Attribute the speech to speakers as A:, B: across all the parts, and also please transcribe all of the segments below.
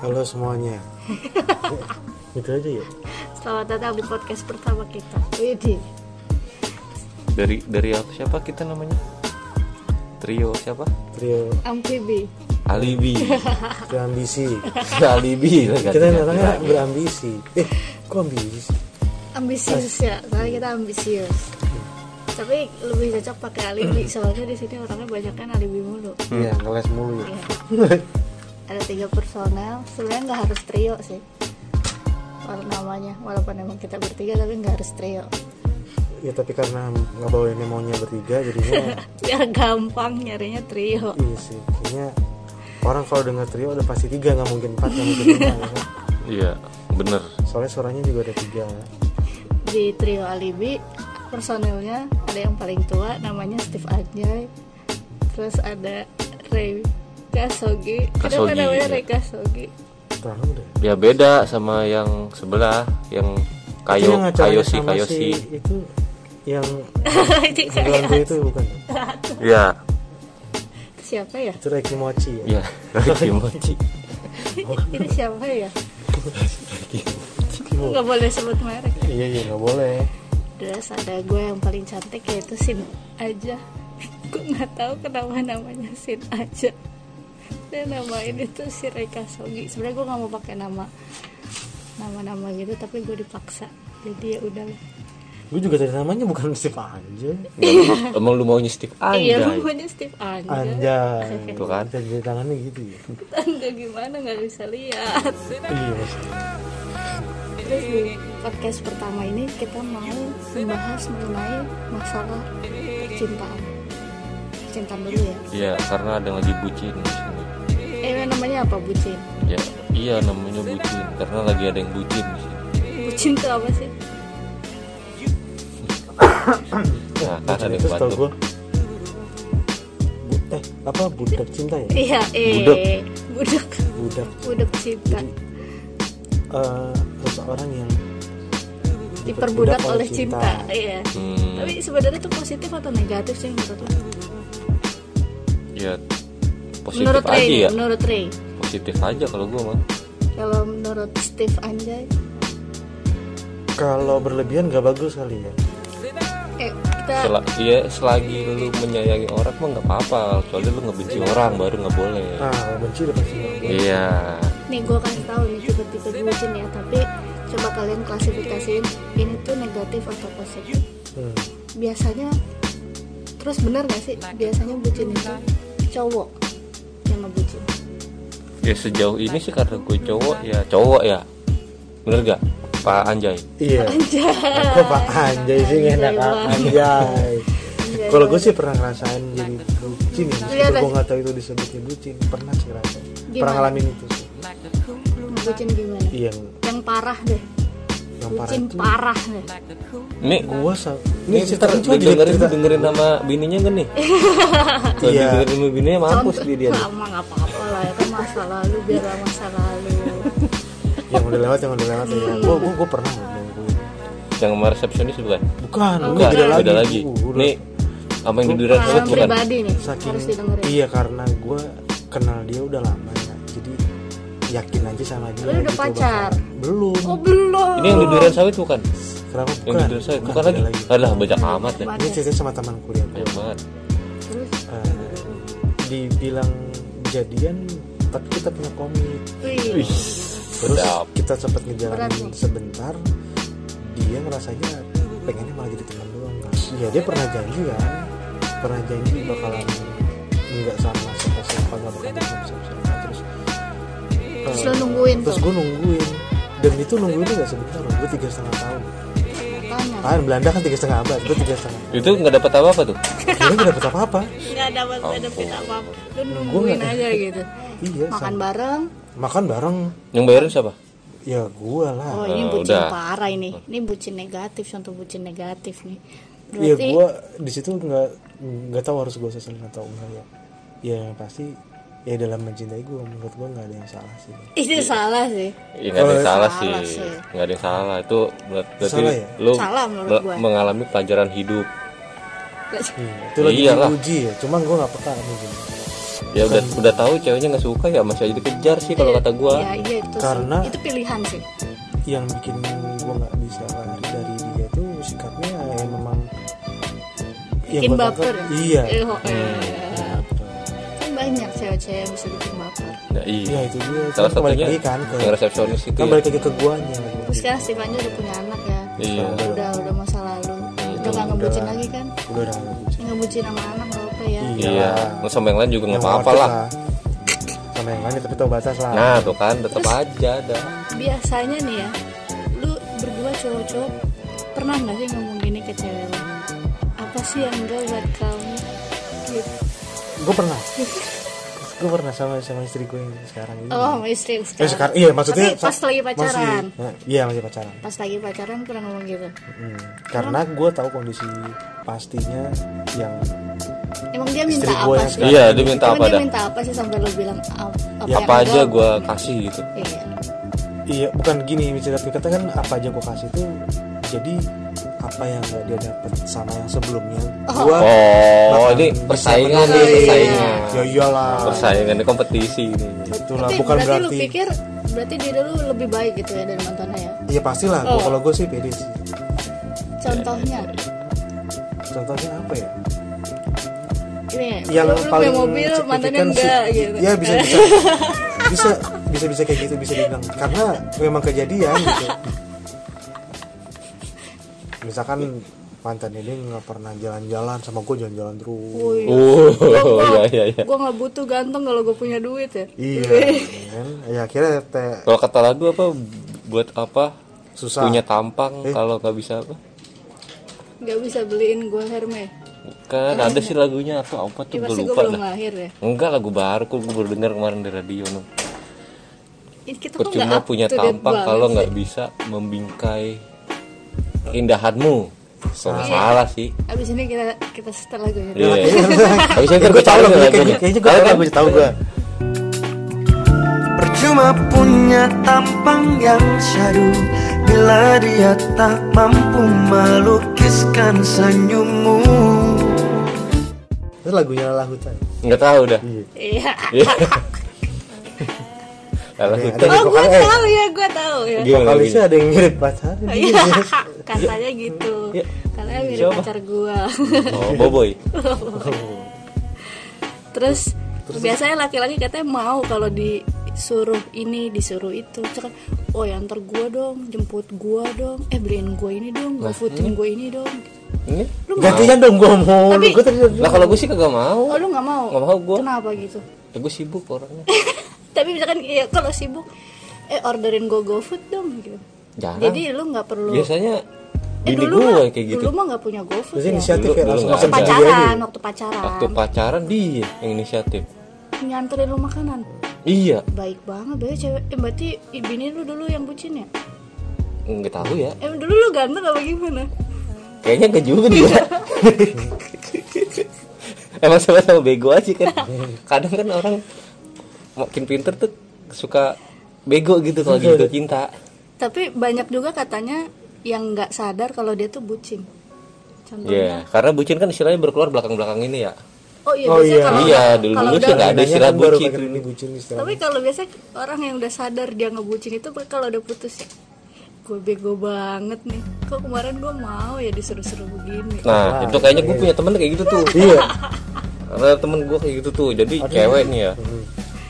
A: halo semuanya. gitu aja ya.
B: Selamat datang di podcast pertama kita. Widih.
C: dari dari apa- siapa kita namanya trio siapa
A: Trio
B: MPB.
C: alibi
A: berambisi.
C: alibi lah Iya.
A: Kita yang datangnya berambisi. Eh, kok ambisi?
B: Ambisius ya, soalnya kita ambisius. Tapi lebih cocok pakai alibi soalnya di sini orangnya banyak kan alibi mulu.
A: Iya, ngeles mulu ya.
B: Iya. Ada tiga personel, sebenarnya nggak harus trio sih. Walau namanya, walaupun emang kita bertiga tapi nggak harus trio.
A: Ya tapi karena nggak bawa ini maunya bertiga jadinya
B: Biar gampang nyarinya trio.
A: iya sih. Kayaknya orang kalau dengar trio udah pasti tiga nggak mungkin empat nggak mungkin lima. ya kan?
C: iya bener
A: Soalnya suaranya juga ada tiga.
B: Di trio alibi personelnya ada yang paling tua namanya Steve Anjay. Terus ada Ray Kasogi. Kenapa
C: Kasogi,
B: namanya
C: iya.
B: Ray Kasogi?
A: Terlalu deh.
C: ya beda sama yang sebelah yang
A: Itu
C: kayo
A: yang acaranya
C: kayosi
A: sama
C: kayosi
A: si itu yang
B: Ini kayak-
A: Gelantu itu bukan
C: ya
B: siapa ya?
A: itu Reiki Mochi ya
C: ya Ricky Mochi
B: Ini siapa ya?
A: Mochi.
B: Nggak boleh sebut merek.
A: iya iya nggak boleh
B: Terus ada gue yang paling cantik yaitu Sin aja. gue nggak tahu kenapa namanya Sin aja. Dan nama ini tuh si Reka Sogi. Sebenarnya gue nggak mau pakai nama nama-nama gitu tapi gue dipaksa. Jadi ya udah.
A: gue juga dari namanya bukan si aja
C: emang lu maunya Steve
B: Iya
C: Anjay
B: namanya Steve Anja.
A: anjay
C: Tuh kan.
A: jadi tangannya gitu ya
B: Anja gimana nggak bisa lihat.
A: iya maksudnya.
B: Terus di podcast pertama ini kita mau membahas mengenai masalah percintaan. Percintaan dulu ya.
C: iya karena ada yang lagi bucin di sini
B: Eh namanya apa bucin?
C: ya iya namanya bucin karena lagi ada yang bucin di sini
B: Bucin tuh apa sih?
C: nah karena
A: Bucin
C: ada
A: itu
C: yang
A: setahu
C: batuk
A: gue Bu- eh apa budak cinta ya
B: Iya, eh.
C: Budak.
B: Budak.
A: budak
B: Budak cinta.
A: jadi eh, seseorang yang
B: Diperbudak oleh cinta. Iya.
C: Hmm,
B: Tapi sebenarnya itu positif atau negatif sih menurut lo?
C: ya positif
B: Menurut Ray,
C: aja
B: nih,
C: ya
B: menurut Ray.
C: positif aja kalau gue mah
B: Kalau menurut Steve Anjay,
A: kalau berlebihan gak bagus kali ya
B: eh kita
C: Sel- iya, selagi lu menyayangi orang mah nggak apa-apa kecuali lu ngebenci orang baru nggak boleh
A: ah kalau benci udah pasti nggak boleh.
C: iya
B: nih gue kasih tahu nih tipe-tipe bucin ya, tapi coba kalian klasifikasiin ini tuh negatif atau positif.
A: Hmm.
B: Biasanya terus benar gak sih biasanya bucin itu cowok yang ngebucin
C: ya sejauh ini sih karena gue cowok ya cowok ya bener gak Pak Anjay
A: iya kok pak anjay sih nggak enak
B: Anjay Iya,
A: anjay
B: Anjay
A: kalau gue sih pernah ngerasain jadi bucin ya
B: Iya,
A: meskipun gue
B: Mas.
A: nggak tahu itu disebutnya bucin pernah sih ngerasain
B: Gimana?
A: pernah ngalamin itu sih
B: ngebucin gimana
A: iya yang,
B: yang parah deh
A: yang parah
B: bucin
A: itu
B: parah deh
C: ini
A: gue sa
C: ini
A: ini cerita
C: ntar
A: coba
C: dengerin
A: cerita-
C: dengerin nama bininya gak nih kalau
A: Iya.
C: dengerin sama bininya mampus dia dia
B: Nggak, emang nggak apa-apa lah ya kan masa lalu biarlah masa lalu
A: yang udah lewat yang udah lewat ya
B: Iya.
A: gue gue gue pernah ngomong gue
C: yang sama resepsionis bukan
A: bukan
B: Oh,
A: gue
C: bukan
A: beda lagi, Uh,
C: beda lagi
A: Gua- gua
C: nih sama yang di duran
B: pengalaman
C: bukan
B: pribadi nih
A: saking
B: harus didengerin
A: iya karena gue kenal dia udah lama ya jadi yakin aja sama dia
B: Lu udah
A: gitu,
B: pacar?
A: bakal- belum
B: oh belum
C: ini yang di duran sawit bukan
A: kenapa bukan
C: yang di duran sawit bukan
A: beda
C: lagi alah banyak amat ya
A: ini cerita sama teman kuliah gue
C: banyak banget
B: terus
A: Eh, dibilang jadian tapi kita punya komit
B: wih
A: terus
C: Sedap.
A: kita sempat
B: Berat
A: ngejalanin
B: nih.
A: sebentar dia merasanya pengennya malah jadi teman doang kan ya dia pernah janji kan pernah janji bakalan nggak sama siapa siapa nggak bakal sama siapa siapa terus
B: Terus
A: eh,
B: lo nungguin
A: terus
B: tuh?
A: gue nungguin dan itu nungguin tuh gak sebentar loh gue tiga setengah tahun
B: katanya
A: kan Belanda kan tiga setengah abad gue tiga setengah
C: itu nggak dapat apa apa tuh
A: akhirnya gak dapet apa apa
B: nggak dapat benefit apa apa lu
A: Gua
B: nungguin
A: nggak-
B: aja gitu
A: iya
B: makan
A: sama-
B: bareng
A: makan bareng
C: yang bayarin siapa
A: ya gue lah
B: oh ini
C: Eh,
B: bucin
C: udah.
B: parah ini ini bucin negatif contoh bucin negatif nih
A: Iya
B: berarti
A: gue di situ nggak nggak tahu harus gue sesalin atau enggak ya. Ya yang pasti ya dalam mencintai gue menurut gue nggak ada yang salah sih.
B: itu salah sih
C: Ya, nggak ada yang salah,
B: Salah
C: sih,
B: sih.
C: nggak ada yang salah itu ber- berarti
A: Salah ya?
C: lu
B: Salah menurut
C: me-
B: gua.
C: mengalami pelajaran hidup.
A: Iya, itu lagi
C: Iyalah.
A: diuji ya. Cuma gue nggak peka mungkin.
C: ya udah udah tahu ceweknya nggak suka ya masih aja dikejar sih kalau kata gue
B: ya iya itu sih.
A: Karena-
B: itu pilihan sih
A: yang bikin gue nggak bisa lari dari dia itu sikapnya ya memang yang
B: bikin
A: gua tangkap-
B: baper
A: iya Hmm.
B: Eh, oh, eh.
A: Betul.
B: kan banyak cewek-cewek yang bisa bikin baper
C: nah,
A: iya
C: iya
A: itu dia
C: salah
A: Cuman kembali
C: satunya
A: lagi kan ke
C: yang resepsionis itu
A: kan
C: ya
A: balik lagi ke guanya
B: terus sekarang Stefannya udah punya anak ya
C: iya
B: udah udah masa lalu udah nggak ngebucin lagi kan
A: Iya, udah udah nggak bucin.
B: ngebucin sama anak nggak apa ya
A: Iya.
C: iya Nggak sama yang lain juga nggak
A: Yang
C: apa-apa
A: worth
C: lah
A: it Ya, sama yang lain ya, tapi tau batas lah
C: nah tuh kan tetap aja ada
B: biasanya nih ya lu berdua cowok-cowok pernah nggak sih ngomong gini ke cewek lu apa sih yang enggak buat kamu gitu.
A: gue pernah gue pernah sama sama istri gue yang sekarang ini
B: oh sama istri lu
A: Eh, sekarang iya maksudnya
B: Tapi pas
A: sa-
B: lagi pacaran.
A: masih, eh, iya masih pacaran
B: pas lagi pacaran pernah ngomong gitu
A: Mm, karena
B: Oh.
A: gue tahu kondisi pastinya yang
B: emang dia
A: Istri
B: minta
A: gua
B: apa
A: yang
B: sih
A: sekarang.
C: iya dia minta
B: emang
C: apa
B: dia
C: dah
B: minta apa sih sampai lu bilang "Ah, apa,
A: Ya,
B: yang
C: apa aja
B: enggak?"
C: gue kasih gitu
B: iya
A: iya bukan gini misalnya kita kan apa aja gue kasih tuh jadi apa yang gak dia dapat sama yang sebelumnya
B: Oh.
A: gue
C: oh ini persaingan nih
B: menang.
C: persaingan
A: ya iyalah
C: persaingan ini kompetisi ini
A: itulah
B: Tapi
A: bukan
B: berarti, lu
A: berarti-
B: pikir berarti diri lu lebih baik gitu ya dari mantannya ya
A: iya pastilah Gua-
B: Oh.
A: kalau gue sih pede sih
B: contohnya
A: contohnya apa ya
B: ini
A: yang
B: lu, lu punya
A: Ya, paling
B: mobil
A: signifikan
B: mantannya
A: sih-
B: enggak gitu
A: ya bisa bisa bisa bisa bisa kayak gitu bisa dibilang karena memang kejadian gitu misalkan mantan ini nggak pernah jalan-jalan sama gue jalan-jalan terus
B: Wih.
C: oh iya
B: gua,
C: iya iya
B: gua nggak butuh ganteng kalau gue punya duit ya
A: iya kan ya akhirnya teh
C: kalau kata lagu apa buat apa
A: susah
C: punya tampang
A: Eh.
C: kalau nggak bisa apa
B: nggak bisa beliin gue Hermes
C: kan ada sih lagunya aku apa tuh
B: ya
C: gue
B: pasti gue
C: lupa
B: belum
C: dah
B: lahir ya
C: enggak lagu baru kok gue baru dengar kemarin di radio no.
B: Ini kita kok nggak
C: percuma
B: up
C: punya
B: to date
C: tampang
B: banget
C: kalau
B: sih.
C: nggak bisa membingkai keindahanmu Kok
B: Iya.
C: nggak salah sih
B: abis ini kita kita setel ya. lagunya
C: Iya.
A: Kayaknya
C: Habisnya gue
A: gue tahu
C: tahu
A: lagunya,
C: lagunya.
A: kayaknya kayaknya gue tahu
C: Tahu kan?
A: lagunya, tahu gue
D: Percuma punya tampang yang syadu Bila dia tak mampu melukiskan senyummu
A: itu lagunya Lala Hutan
C: nggak tahu dah
B: iya
C: Alah,
A: Ada-
C: kita-
A: ada-
B: oh gue
A: Pokoknya, eh.
B: tahu ya gue tahu ya
C: Gimana
A: vokalisnya
C: lagunya?
A: ada yang mirip pacar
B: Iya, katanya gitu.
C: Iya.
B: Katanya mirip
C: Siapa?
B: pacar gua.
C: oh boboy
B: Terus, biasanya laki-laki katanya mau kalau disuruh ini, disuruh itu. Terus kan, oh ya antar gua dong, jemput gua dong, eh beliin gua ini dong, gua
C: hmm?
B: footin gua ini dong.
C: ini
B: Lu mau?
A: gantian dong gue mau
B: Tapi-
A: gue tadi
C: lah kalau gue sih kagak mau
B: Oh lu Oh, nggak mau?
C: Nggak mau gua.
B: Kenapa gitu?
C: ya, gue sibuk orangnya
B: Tapi misalkan ya, kalau sibuk, eh orderin gua GoFood dong gitu.
C: jarang
B: Jadi lu nggak perlu.
C: biasanya
B: eh,
C: bini
B: dulu
C: gue
B: mah,
C: kayak gitu
B: dulu mah nggak punya GoFood
A: terus
B: ya.
A: inisiatif ya
C: Dulu-
A: langsung
C: dulu
A: langsung
C: nggak
A: dia ini
B: Pacaran, waktu pacaran,
C: waktu pacaran dia yang inisiatif
B: nyanterin lu makanan.
C: iya
B: baik banget berarti cewek eh, berarti ibini lu dulu yang bucin ya
C: nggak tahu ya
B: eh dulu lu ganteng apa gimana
C: kayaknya nggak juga dia emang sama-sama bego aja kan kadang kan orang makin pinter tuh suka bego gitu kalau gitu cinta
B: tapi banyak juga katanya yang nggak sadar kalau dia tuh bucin contohnya
C: Iya, karena bucin kan istilahnya berkeluar belakang-belakang ini ya.
B: oh iya
A: Oh,
B: biasanya
A: iya.
B: kalau
C: iya, dulu-dulu
B: kalau
C: sih nggak ada
A: Nanya
C: istilah
A: kan baru
C: bucin.
A: pakai ini bucin istilah
B: tapi kalau biasanya orang yang udah sadar dia ngebucin itu kalau udah putus ya gue bego banget nih kok kemarin gue mau ya disuruh-suruh begini
C: Nah,
A: Nah,
C: itu kayaknya gue punya temen kayak gitu tuh.
A: iya
C: Ada temen gue kayak gitu tuh. Jadi cewek nih ya,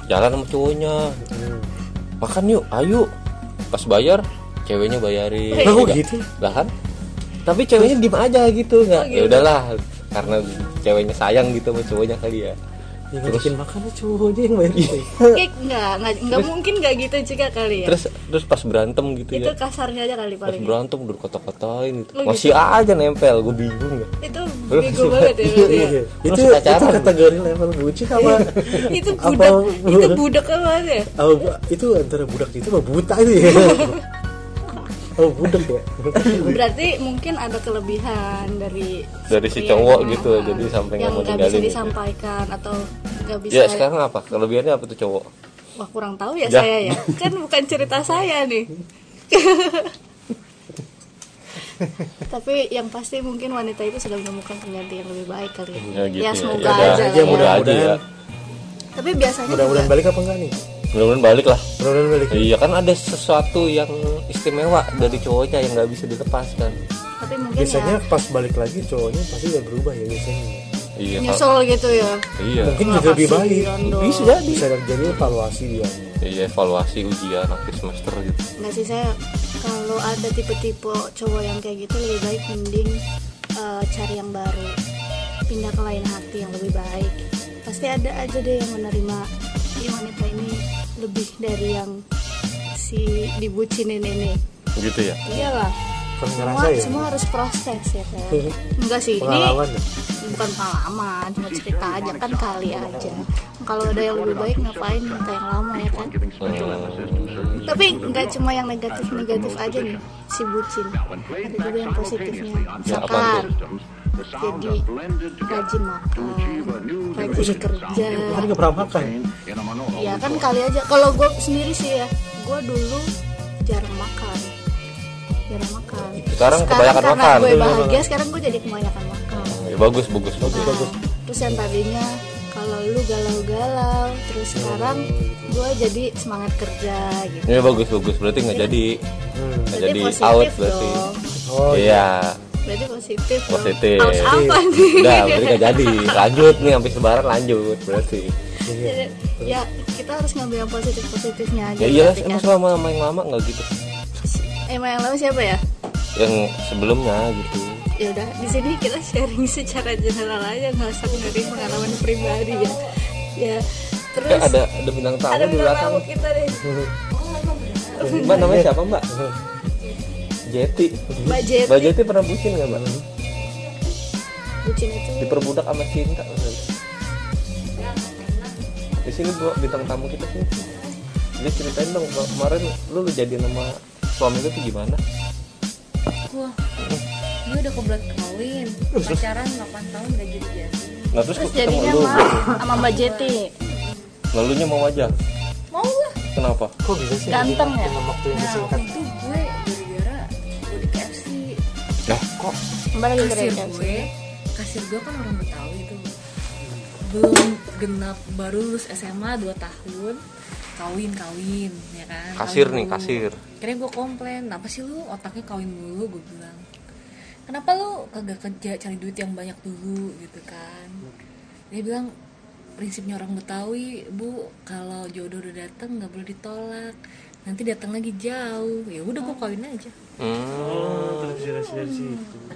C: jalan sama cowoknya, makan yuk, ayo. Pas bayar, ceweknya bayarin.
A: Lah, kok
C: Juga.
A: gitu?
C: Lah kan? Tapi ceweknya diem aja gitu, nggak? Ya udahlah, karena ceweknya sayang gitu sama cowoknya kali ya.
A: yang ngajakin Iya, makan cowoknya yang Iya. bayar
C: Iya.
B: kayak nggak nggak nggak mungkin nggak gitu juga kali ya
C: Terus terus pas berantem gitu
B: itu gitu.
C: ya.
B: kasarnya aja kali
C: Pas
B: paling
C: berantem udah kata-katain gitu.
B: Lu
C: Masih aja nempel, gue bingung ya.
B: itu
C: Lu
B: bego
C: suka-
B: banget ya berarti ya.
A: Iya. itu
C: Terus
A: itu
C: pacaran. Iya.
A: kategori level bucin apa
B: itu
A: Apa-
B: budak itu budak apa ya
A: apa bu- itu antara budak itu sama buta itu ya oh budak ya
B: berarti mungkin ada kelebihan dari
C: Gitu. Dari si
B: pria
C: cowok
B: yang-
C: gitu, jadi sampai nggak
B: yang nggak
C: mau
B: bisa
C: tinggalin gitu.
B: disampaikan atau nggak bisa
C: Ya sekarang apa? Kelebihannya apa tuh cowok?
B: wah kurang tahu ya,
C: Ya.
B: saya ya kan bukan cerita saya nih tapi yang pasti mungkin wanita itu sudah menemukan pengganti yang lebih baik kali ya,
C: Ya gitu
B: ya
C: ya.
B: semoga
C: Ya udah,
B: aja,
A: aja
B: lah ya.
A: mudah-mudahan
C: Mudah-mudahan.
B: tapi biasanya
A: mudah-mudahan balik apa enggak nih
C: mudah-mudahan balik lah
A: mudah-mudahan balik
C: iya kan ada sesuatu yang istimewa dari cowoknya yang nggak bisa dilepaskan
B: tapi mungkin
A: biasanya
B: ya
A: pas balik lagi cowoknya pasti udah berubah ya biasanya
C: iya Kak.
B: nyusul gitu ya
C: iya
A: mungkin juga lebih
B: Makasih,
A: baik
B: Yondo.
A: bisa jadi bisa jadi evaluasi dia
C: iya evaluasi ujian akhir semester gitu
B: nggak sih saya kalau ada tipe-tipe cowok yang kayak gitu lebih baik mending eh, cari yang baru pindah ke lain hati yang lebih baik pasti ada aja deh yang menerima "Ih, wanita ini lebih dari yang si dibucinin ini
C: gitu ya
B: iyalah
A: pernah
B: semua,
A: ngerasa ya
B: semua harus proses ya kan enggak sih
A: pengalaman
B: ini
A: ya?
B: bukan pengalaman cuma cerita aja kan kali aja kalau ada yang lebih baik ngapain minta yang lama ya kan tapi nggak cuma yang negatif negatif aja nih si bucin ada juga yang positifnya misalkan jadi rajin makan rajin kerja
A: kan nggak pernah makan
B: ya kan kali aja kalau gue sendiri sih ya gue dulu jarang makan jarang makan
C: Sekarang kebanyakan
B: karena
C: makan.
B: gue bahagia sekarang gue jadi kebanyakan makan
C: Ya, bagus bagus bagus
B: Nah, terus yang tadinya kalau lu galau-galau terus sekarang gue jadi semangat kerja gitu
C: ya bagus bagus berarti nggak jadi
A: Hmm.
C: nggak
B: Berarti
C: jadi
B: positif
C: out berarti
B: dong.
A: oh iya
C: iya
B: berarti positif dong.
C: Positif. Iya,
B: out apa nih
C: udah berarti kan. nggak jadi lanjut nih sampai sebaran lanjut berarti
A: iya.
B: Jadi, ya kita harus ngambil yang positif positifnya aja
C: ya iyalah
B: berarti
C: emang
B: kan.
C: selama main lama nggak gitu
B: emang yang lama siapa ya
C: yang sebelumnya gitu
B: ya udah di sini kita sharing secara general aja nggak usah dari pengalaman pribadi ya ya terus
C: Kayak Kan ada ada bintang tamu
B: ada
C: di belakang
B: tamu kita deh
C: mbak namanya siapa mbak Jeti
B: Mbak Jeti.
C: mbak Jeti pernah bucin nggak mbak
B: ya, bucin itu
C: diperbudak sama cinta di sini bu bintang tamu kita sini dia ceritain dong Mbak, kemarin lu jadi nama suami lu tuh gimana
E: Wah, dia udah kebelet kawin pacaran 8 tahun gak jadi jadi
C: nah
B: terus
C: terus, kok ketemu
B: jadinya
C: lu
B: sama sama Mbak Jeti
C: lalunya mau aja
E: mau lah
C: kenapa
A: kok bisa sih
B: Ganteng
A: dalam-
B: ya?
A: dalam waktu yang
E: nah waktu
A: disingkat
E: itu gue gara-gara gue di KFC
C: nah kok
B: Mbak lagi
E: kasir
B: gereja
E: gue kasir gue kan orang Betawi itu belum genap baru lulus SMA 2 tahun kawin kawin ya kan
C: Kasir
E: Kawin
C: nih,
E: dulu.
C: kasir.
E: akhirnya gue komplain apa sih lu otaknya kawin dulu gue bilang kenapa lu kagak kerja cari duit yang banyak dulu gitu kan dia bilang prinsipnya orang Betawi bu kalau jodoh udah dateng nggak boleh ditolak nanti datang lagi jauh ya udah gue kawin aja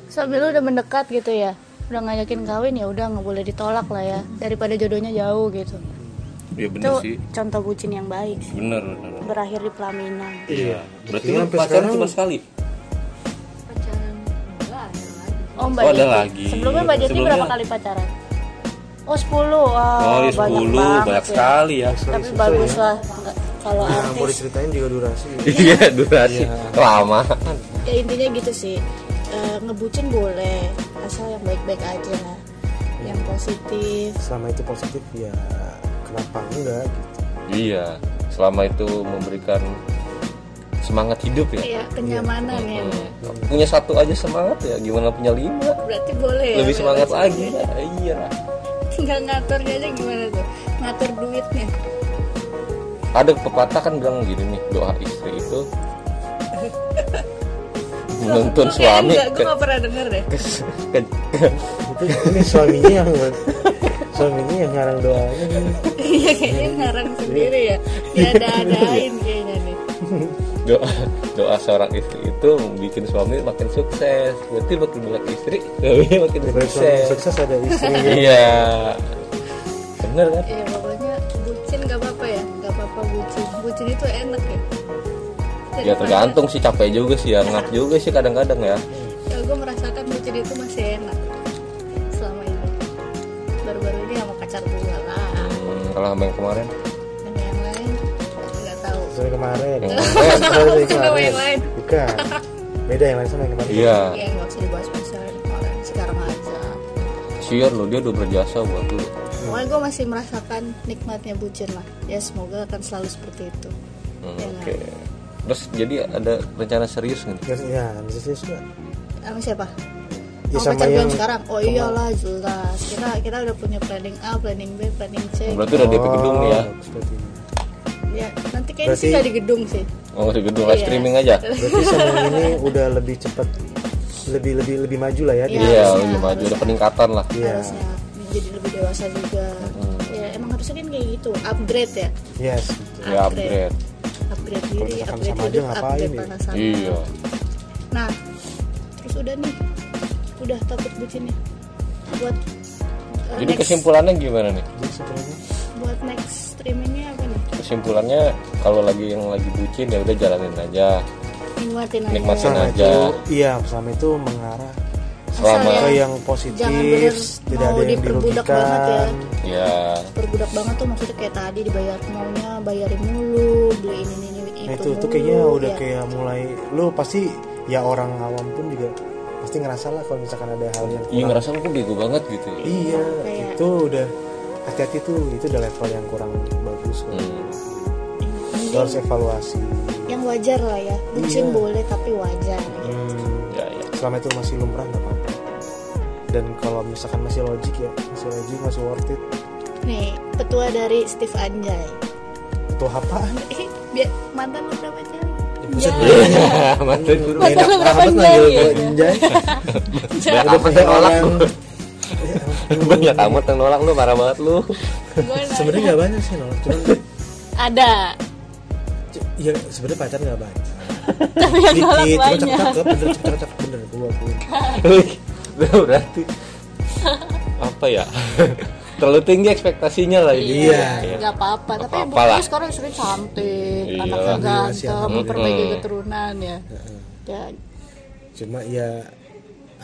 B: Sambil lu udah mendekat gitu ya udah ngajakin kawin ya udah nggak boleh ditolak lah ya daripada jodohnya jauh gitu itu
C: ya bener sih
B: contoh bucin yang baik sih.
C: bener bener
B: berakhir di pelaminan
A: iya
C: berarti
A: Iya,
C: lu
A: sampai
C: pacaran
A: sekarang-
C: cuma sekali
E: pacaran enggak ada lagi
B: oh mbak
C: Oh, ada
B: Jeti.
C: lagi.
B: sebelumnya mbak Jeti
C: Sebelumnya-
B: berapa kali pacaran oh 10 oh,
C: oh ya 10 banyak,
B: banget ya.
C: sekali ya
B: tapi bagus lah nggak- kalau
A: nah, mau
B: artis
A: diceritain juga durasi
C: iya durasi lama
B: ya intinya gitu sih Eh, ngebucin boleh asal yang baik-baik aja yang positif
A: selama itu positif ya kenapa enggak gitu
C: iya selama itu memberikan semangat hidup
B: ya
C: ya
B: kenyamanan ya
C: Hmm. punya satu aja semangat ya gimana punya lima
B: berarti boleh ya,
C: lebih semangat
B: bebas.
C: lagi ya iya lah.
B: tinggal ngaturnya aja gimana tuh ngatur duitnya
C: ada pepatah kan bilang gini nih doa istri itu menuntun suami
B: gue
C: ke,
B: gak pernah denger deh
C: ke, ke- ke-
A: itu ini suaminya yang suaminya yang ngarang doanya nih.
B: iya kayaknya ngarang sendiri ya ada adain kayaknya nih
C: doa doa seorang istri itu bikin suami makin sukses berarti makin banyak istri suaminya makin
A: Daripada suami
C: sukses
A: sukses ada istrinya
C: iya bener kan
B: ya pokoknya bucin gak apa-apa ya gak apa-apa bucin bucin itu enak ya
C: ya tergantung sih capek juga sih ya ngap juga sih kadang-kadang ya
B: ya gue merasakan bucin itu masih enak selama ini baru-baru ini sama pacar gue lah
C: Hmm, kalau sama yang kemarin
B: dan yang lain nggak tahu
A: Dari kemarin
C: yang kemarin
A: Dari
B: Sama yang lain.
A: bukan beda yang lain sama yang kemarin
C: iya
B: ya nggak usah dibahas masalah kemarin sekarang aja
C: siar lo dia udah berjasa buat lu
B: Pokoknya gue masih merasakan nikmatnya bucin lah Ya semoga akan selalu seperti itu
C: Hmm,
B: Ya,
C: oke terus jadi ada rencana serius nih
A: Terus, ya serius nggak
B: Sama siapa?
A: Ya,
B: mau
A: sama
B: pacar belum
A: yang-
B: sekarang oh iyalah jelas kita kita udah punya planning A planning B planning C
C: Berarti udah
A: Oh,
C: di gedung nih ya.
A: seperti ini.
B: ya nanti kayaknya sih
A: Berarti-
B: nggak di gedung sih
C: Oh, di gedung live
B: Iya.
C: streaming aja.
A: Berarti sama yang ini udah lebih cepat, lebih lebih lebih maju lah ya.
B: Iya,
A: dia.
C: Iya,
B: harusnya,
C: lebih maju,
B: harusnya.
C: ada peningkatan lah.
A: Iya.
B: harusnya jadi lebih dewasa juga
C: Hmm.
B: ya emang harusnya kan kayak gitu upgrade ya
A: Yes. gitu.
C: Ya upgrade.
B: upgrade
A: Kalau
B: diri
A: misalkan
B: upgrade
A: sama aja
B: hidup
A: ngapain
B: upgrade
A: ya?
B: perasaan
C: Iya.
B: nah terus udah nih udah topik bucinnya buat uh,
C: Jadi
B: next-
C: kesimpulannya gimana nih?
A: Jadi sebenarnya
B: buat next streamingnya apa nih
C: Kesimpulannya kalau lagi yang lagi bucin ya udah jalanin aja.
B: nikmatin aja
C: Nikmat
A: sama
C: Aja.
A: itu, iya sama itu mengarah
C: Selama
B: Asal
A: ke
B: ya.
A: yang
B: Jangan bener
A: positif, tidak
B: mau
A: ada yang
B: diperbudak banget ya.
A: dirugikan.
C: ya
B: perbudak banget tuh maksudnya kayak tadi dibayar maunya bayarin mulu beli ini ini, ini
A: Nah
B: itu
A: itu tuh
B: mulu,
A: kayaknya udah
B: ya.
A: kayak mulai lu pasti ya orang awam pun juga pasti ngerasa lah kalau misalkan ada hal yang
C: Iya
A: kurang.
C: ngerasa aku bego banget gitu. ya.
A: Iya,
B: Kayak-
A: itu udah hati-hati tuh itu udah level yang kurang bagus. Kan.
C: Hmm.
A: Lu harus evaluasi.
B: yang wajar lah ya
A: Iya.
B: bucin boleh tapi wajar
C: Ya ya.
A: Selama itu masih lumrah nggak apa-apa. Dan kalau misalkan masih logik ya, masih logik masih worth it.
B: nih petua dari Steve Anjay
A: Itu apaan?
B: Eh, biar mantan lu berapa jam
C: Mantan guru.
A: Enak
B: Iya. lu
A: banget
B: berapa jam,
A: manggil
B: iya,
A: gua,
B: iya.
A: Anjay.
C: Udah
A: kayak orang.
C: Banyak amat yang nolak lu parah banget lu.
B: Gua nanya.
A: Sebenarnya nggak banyak sih loh, cuman
B: ada
A: c- ya sebenarnya pacar nggak banyak.
B: tapi yang nolak
A: Dikit, cuma
B: banyak
A: cakep, bener cakep, cakep, bener gua akuin.
C: Berarti apa ya? Terlalu tinggi ekspektasinya lah ini.
A: Iya.
B: nggak apa-apa tapi yang
C: apa-apa lah.
B: pokoknya sekarang istri cantik
C: Iya.
B: anaknya
A: Iya,
B: ganteng
A: sih.
B: memperbaiki
C: Mm.
B: keturunan ya ya
A: Cuma ya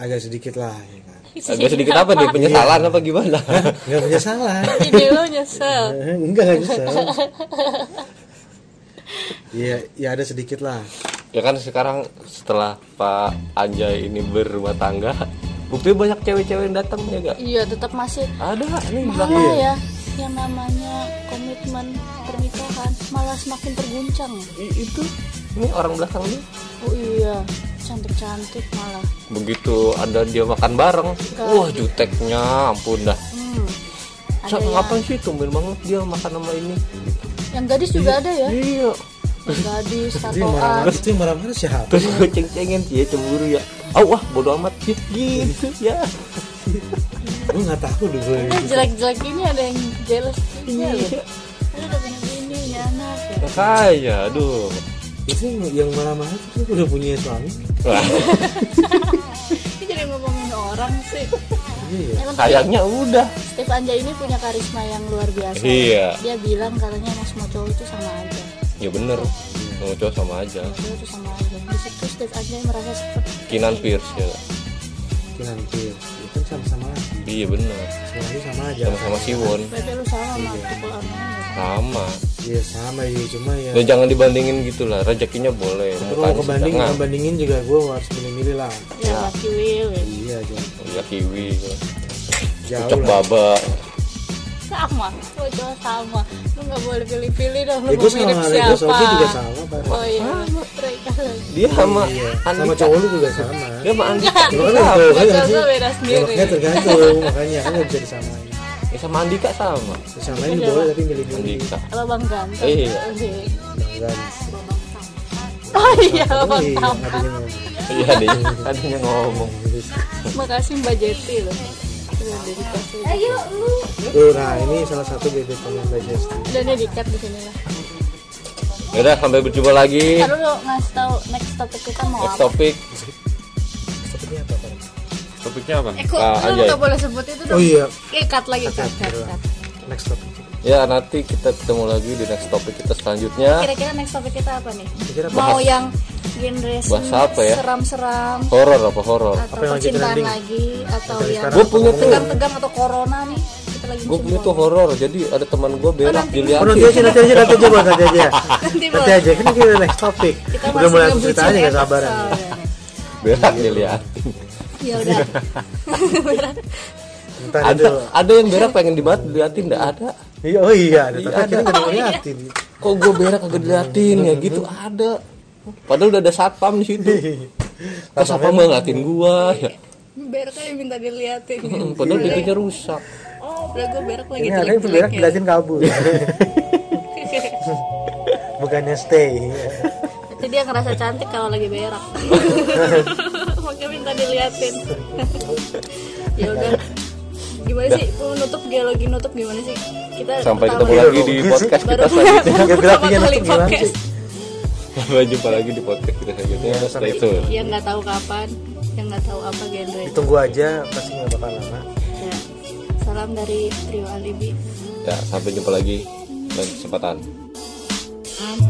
A: agak sedikit lah. Ya kan.
C: Agak sedikit apa nih
B: Iya.
C: penyesalan apa gimana?
A: Nggak punya salah.
B: ide lo nyesel
A: Eh, enggak nggak bisa Iya, ya ada sedikit lah.
C: ya kan sekarang setelah Pak Anjay ini berumah tangga, buktinya banyak cewek-cewek yang datang ya gak?
B: iya tetap masih
C: Ada nih
B: mahal ya yang namanya komitmen pernikahan malah semakin terguncang ya.
C: I- itu ini orang belakang nih
B: oh iya cantik cantik malah
C: begitu ada dia makan bareng
B: Iya.
C: wah juteknya ampun dah
B: hmm. ada
C: Sa,
B: yang,
C: ngapain sih tumben banget dia makan sama ini
B: yang gadis juga ada ya
C: iya
B: yang gadis
A: Itu yang marah-marah,
B: tatoan
A: itu yang marah-marah siapa?
C: terus gue ceng-cengin dia cemburu ya ah wah bodo amat Gitu, gitu ya
A: Gue nggak takut deh gue.
B: ini jelek-jelek ini ada yang jealous juga
C: Iya.
B: loh. Lu udah punya bini ya anak ya
C: makanya aduh
A: Itu yang, yang marah-marah itu udah punya suami.
C: Wah,
B: ini jadi ngomongin orang sih
A: Iya,
B: emang
C: sayangnya udah
B: Steve Anjay ini punya karisma yang luar biasa ya?
C: Iya.
B: dia bilang katanya emang semua cowok itu sama aja
C: ya bener mau cowok sama aja
B: semua cowok itu sama aja di situ Steve Anjay merasa seperti
C: Kinan Pierce ya
A: mungkin nanti ya kan sama-sama lagi,
C: iya bener
A: sama lagi sama aja.
C: sama-sama Siwon
B: berarti lu sama sama people online ya?
C: sama
A: Iya sama ya, cuma ya.
C: ya jangan dibandingin gitu lah rezekinya boleh
A: Kalau mau
C: mukanya
A: kebanding,
C: setengah.
A: kebandingin juga gue harus milih-milih lah.
B: ya laki Will ya.
A: Iya, jauh,
C: ya kiwi
A: jauh
C: cocok
A: lah.
C: baba
B: sama gua juga sama lu gak boleh pilih-pilih dong lu
A: Ya
B: mau
A: gue
B: mirip
A: sama,
B: siapa
A: gue Sofi juga sama. Pak.
B: oh iya mereka
C: dia Iya. sama Iya.
A: Sama
C: Andika
A: cowok lu juga sama.
C: dia sama Andika
A: kan- Ya, makanya itu, kan
B: Bocah
A: harusnya-
B: gua beda
A: ya,
B: sendiri.
A: makanya tergantung, makanya kan nggak bisa disamain.
C: ya sama Andika sama
A: Disamain
B: Iya.
A: boleh tapi milih-milih.
C: Andika
B: apa bang ganteng
C: Iya.
A: Jangan.
B: oh iya bang
A: Iya, ada
B: Tam.
A: yang ngomong.
C: iya adanya adanya ngomong
B: makasih mbak Jeti loh Udah dedikasi.
A: Tuh, nah ini salah satu bebek teman Mbak Jesti.
B: udah nih dikat di sini lah
C: yaudah Ya sampai berjumpa lagi
B: Ntar lu ngasih tau next topik kita mau
C: Iya. next
B: apa
C: topic
A: Seperti apa Pak?
C: topiknya apa
B: eh kok
C: Ah,
B: lu
C: Anjay.
B: gak boleh sebut itu
A: Oh
B: dong
A: iya,
B: eh cut lagi cut cut cut
A: next topic.
C: ya nanti kita ketemu lagi di next topik kita selanjutnya
B: kira-kira next topik kita apa nih
A: Kira-kira apa?
B: mau yang genre
C: Bahas apa ya?
B: seram-seram
C: horor apa horor
B: atau
A: Apa yang lagi
B: percintaan
A: trending?
B: lagi atau
A: Dari
B: yang
A: sekarang
C: Gua punya tuh.
B: tegang-tegang atau corona nih kita lagi
C: gue
B: musim
C: punya tuh
B: corona.
C: horor jadi ada teman gue berak
B: nanti.
A: Oh,
C: dilihat
A: nanti aja, nanti aja, nanti aja, Bos, nanti aja.
B: Nanti, Bos.
A: Nanti aja, kan kita next topic.
B: kita
A: Udah mulai aku
B: ngebucin
A: ceritanya nggak
B: enak
A: sabaran.
B: soalnya.
C: berak dilihat
B: ya udah
A: Entar
C: ada
A: dulu.
C: ada yang berak pengen dibat diliatin nggak ada
A: Iya, oh iya, ada tapi
C: Iya,
A: akhirnya nggak ngeliatin.
C: kok gue berak kagak diliatin ya gitu ada padahal udah ada satpam di situ terus apa nggak ngeliatin gue ya
F: berak aja minta diliatin
C: Hmm, padahal pintunya rusak
F: udah gue berak lagi
A: ini Iya, ada yang berak
F: jelek-jeleknya.
A: jelasin kabur bukannya stay
F: Berarti dia ngerasa cantik kalau lagi berak. Makanya minta diliatin. ya udah. Gimana sih mau nutup geologi nutup gimana sih? Kita
C: sampai ketemu
F: pertama-
C: lagi di podcast kita
F: baru
C: selanjutnya
A: Geografinya
F: pertama kali
A: nutup gimana
F: podcast.
C: sampai jumpa lagi di podcast kita selanjutnya stay tune
F: Yang Ya, nggak tahu kapan, yang nggak tahu apa genre.
A: ditunggu aja pasti nggak bakal lama
F: Ya. Salam dari Trio Alibi.
C: ya sampai jumpa lagi dan kesempatan
F: Amin.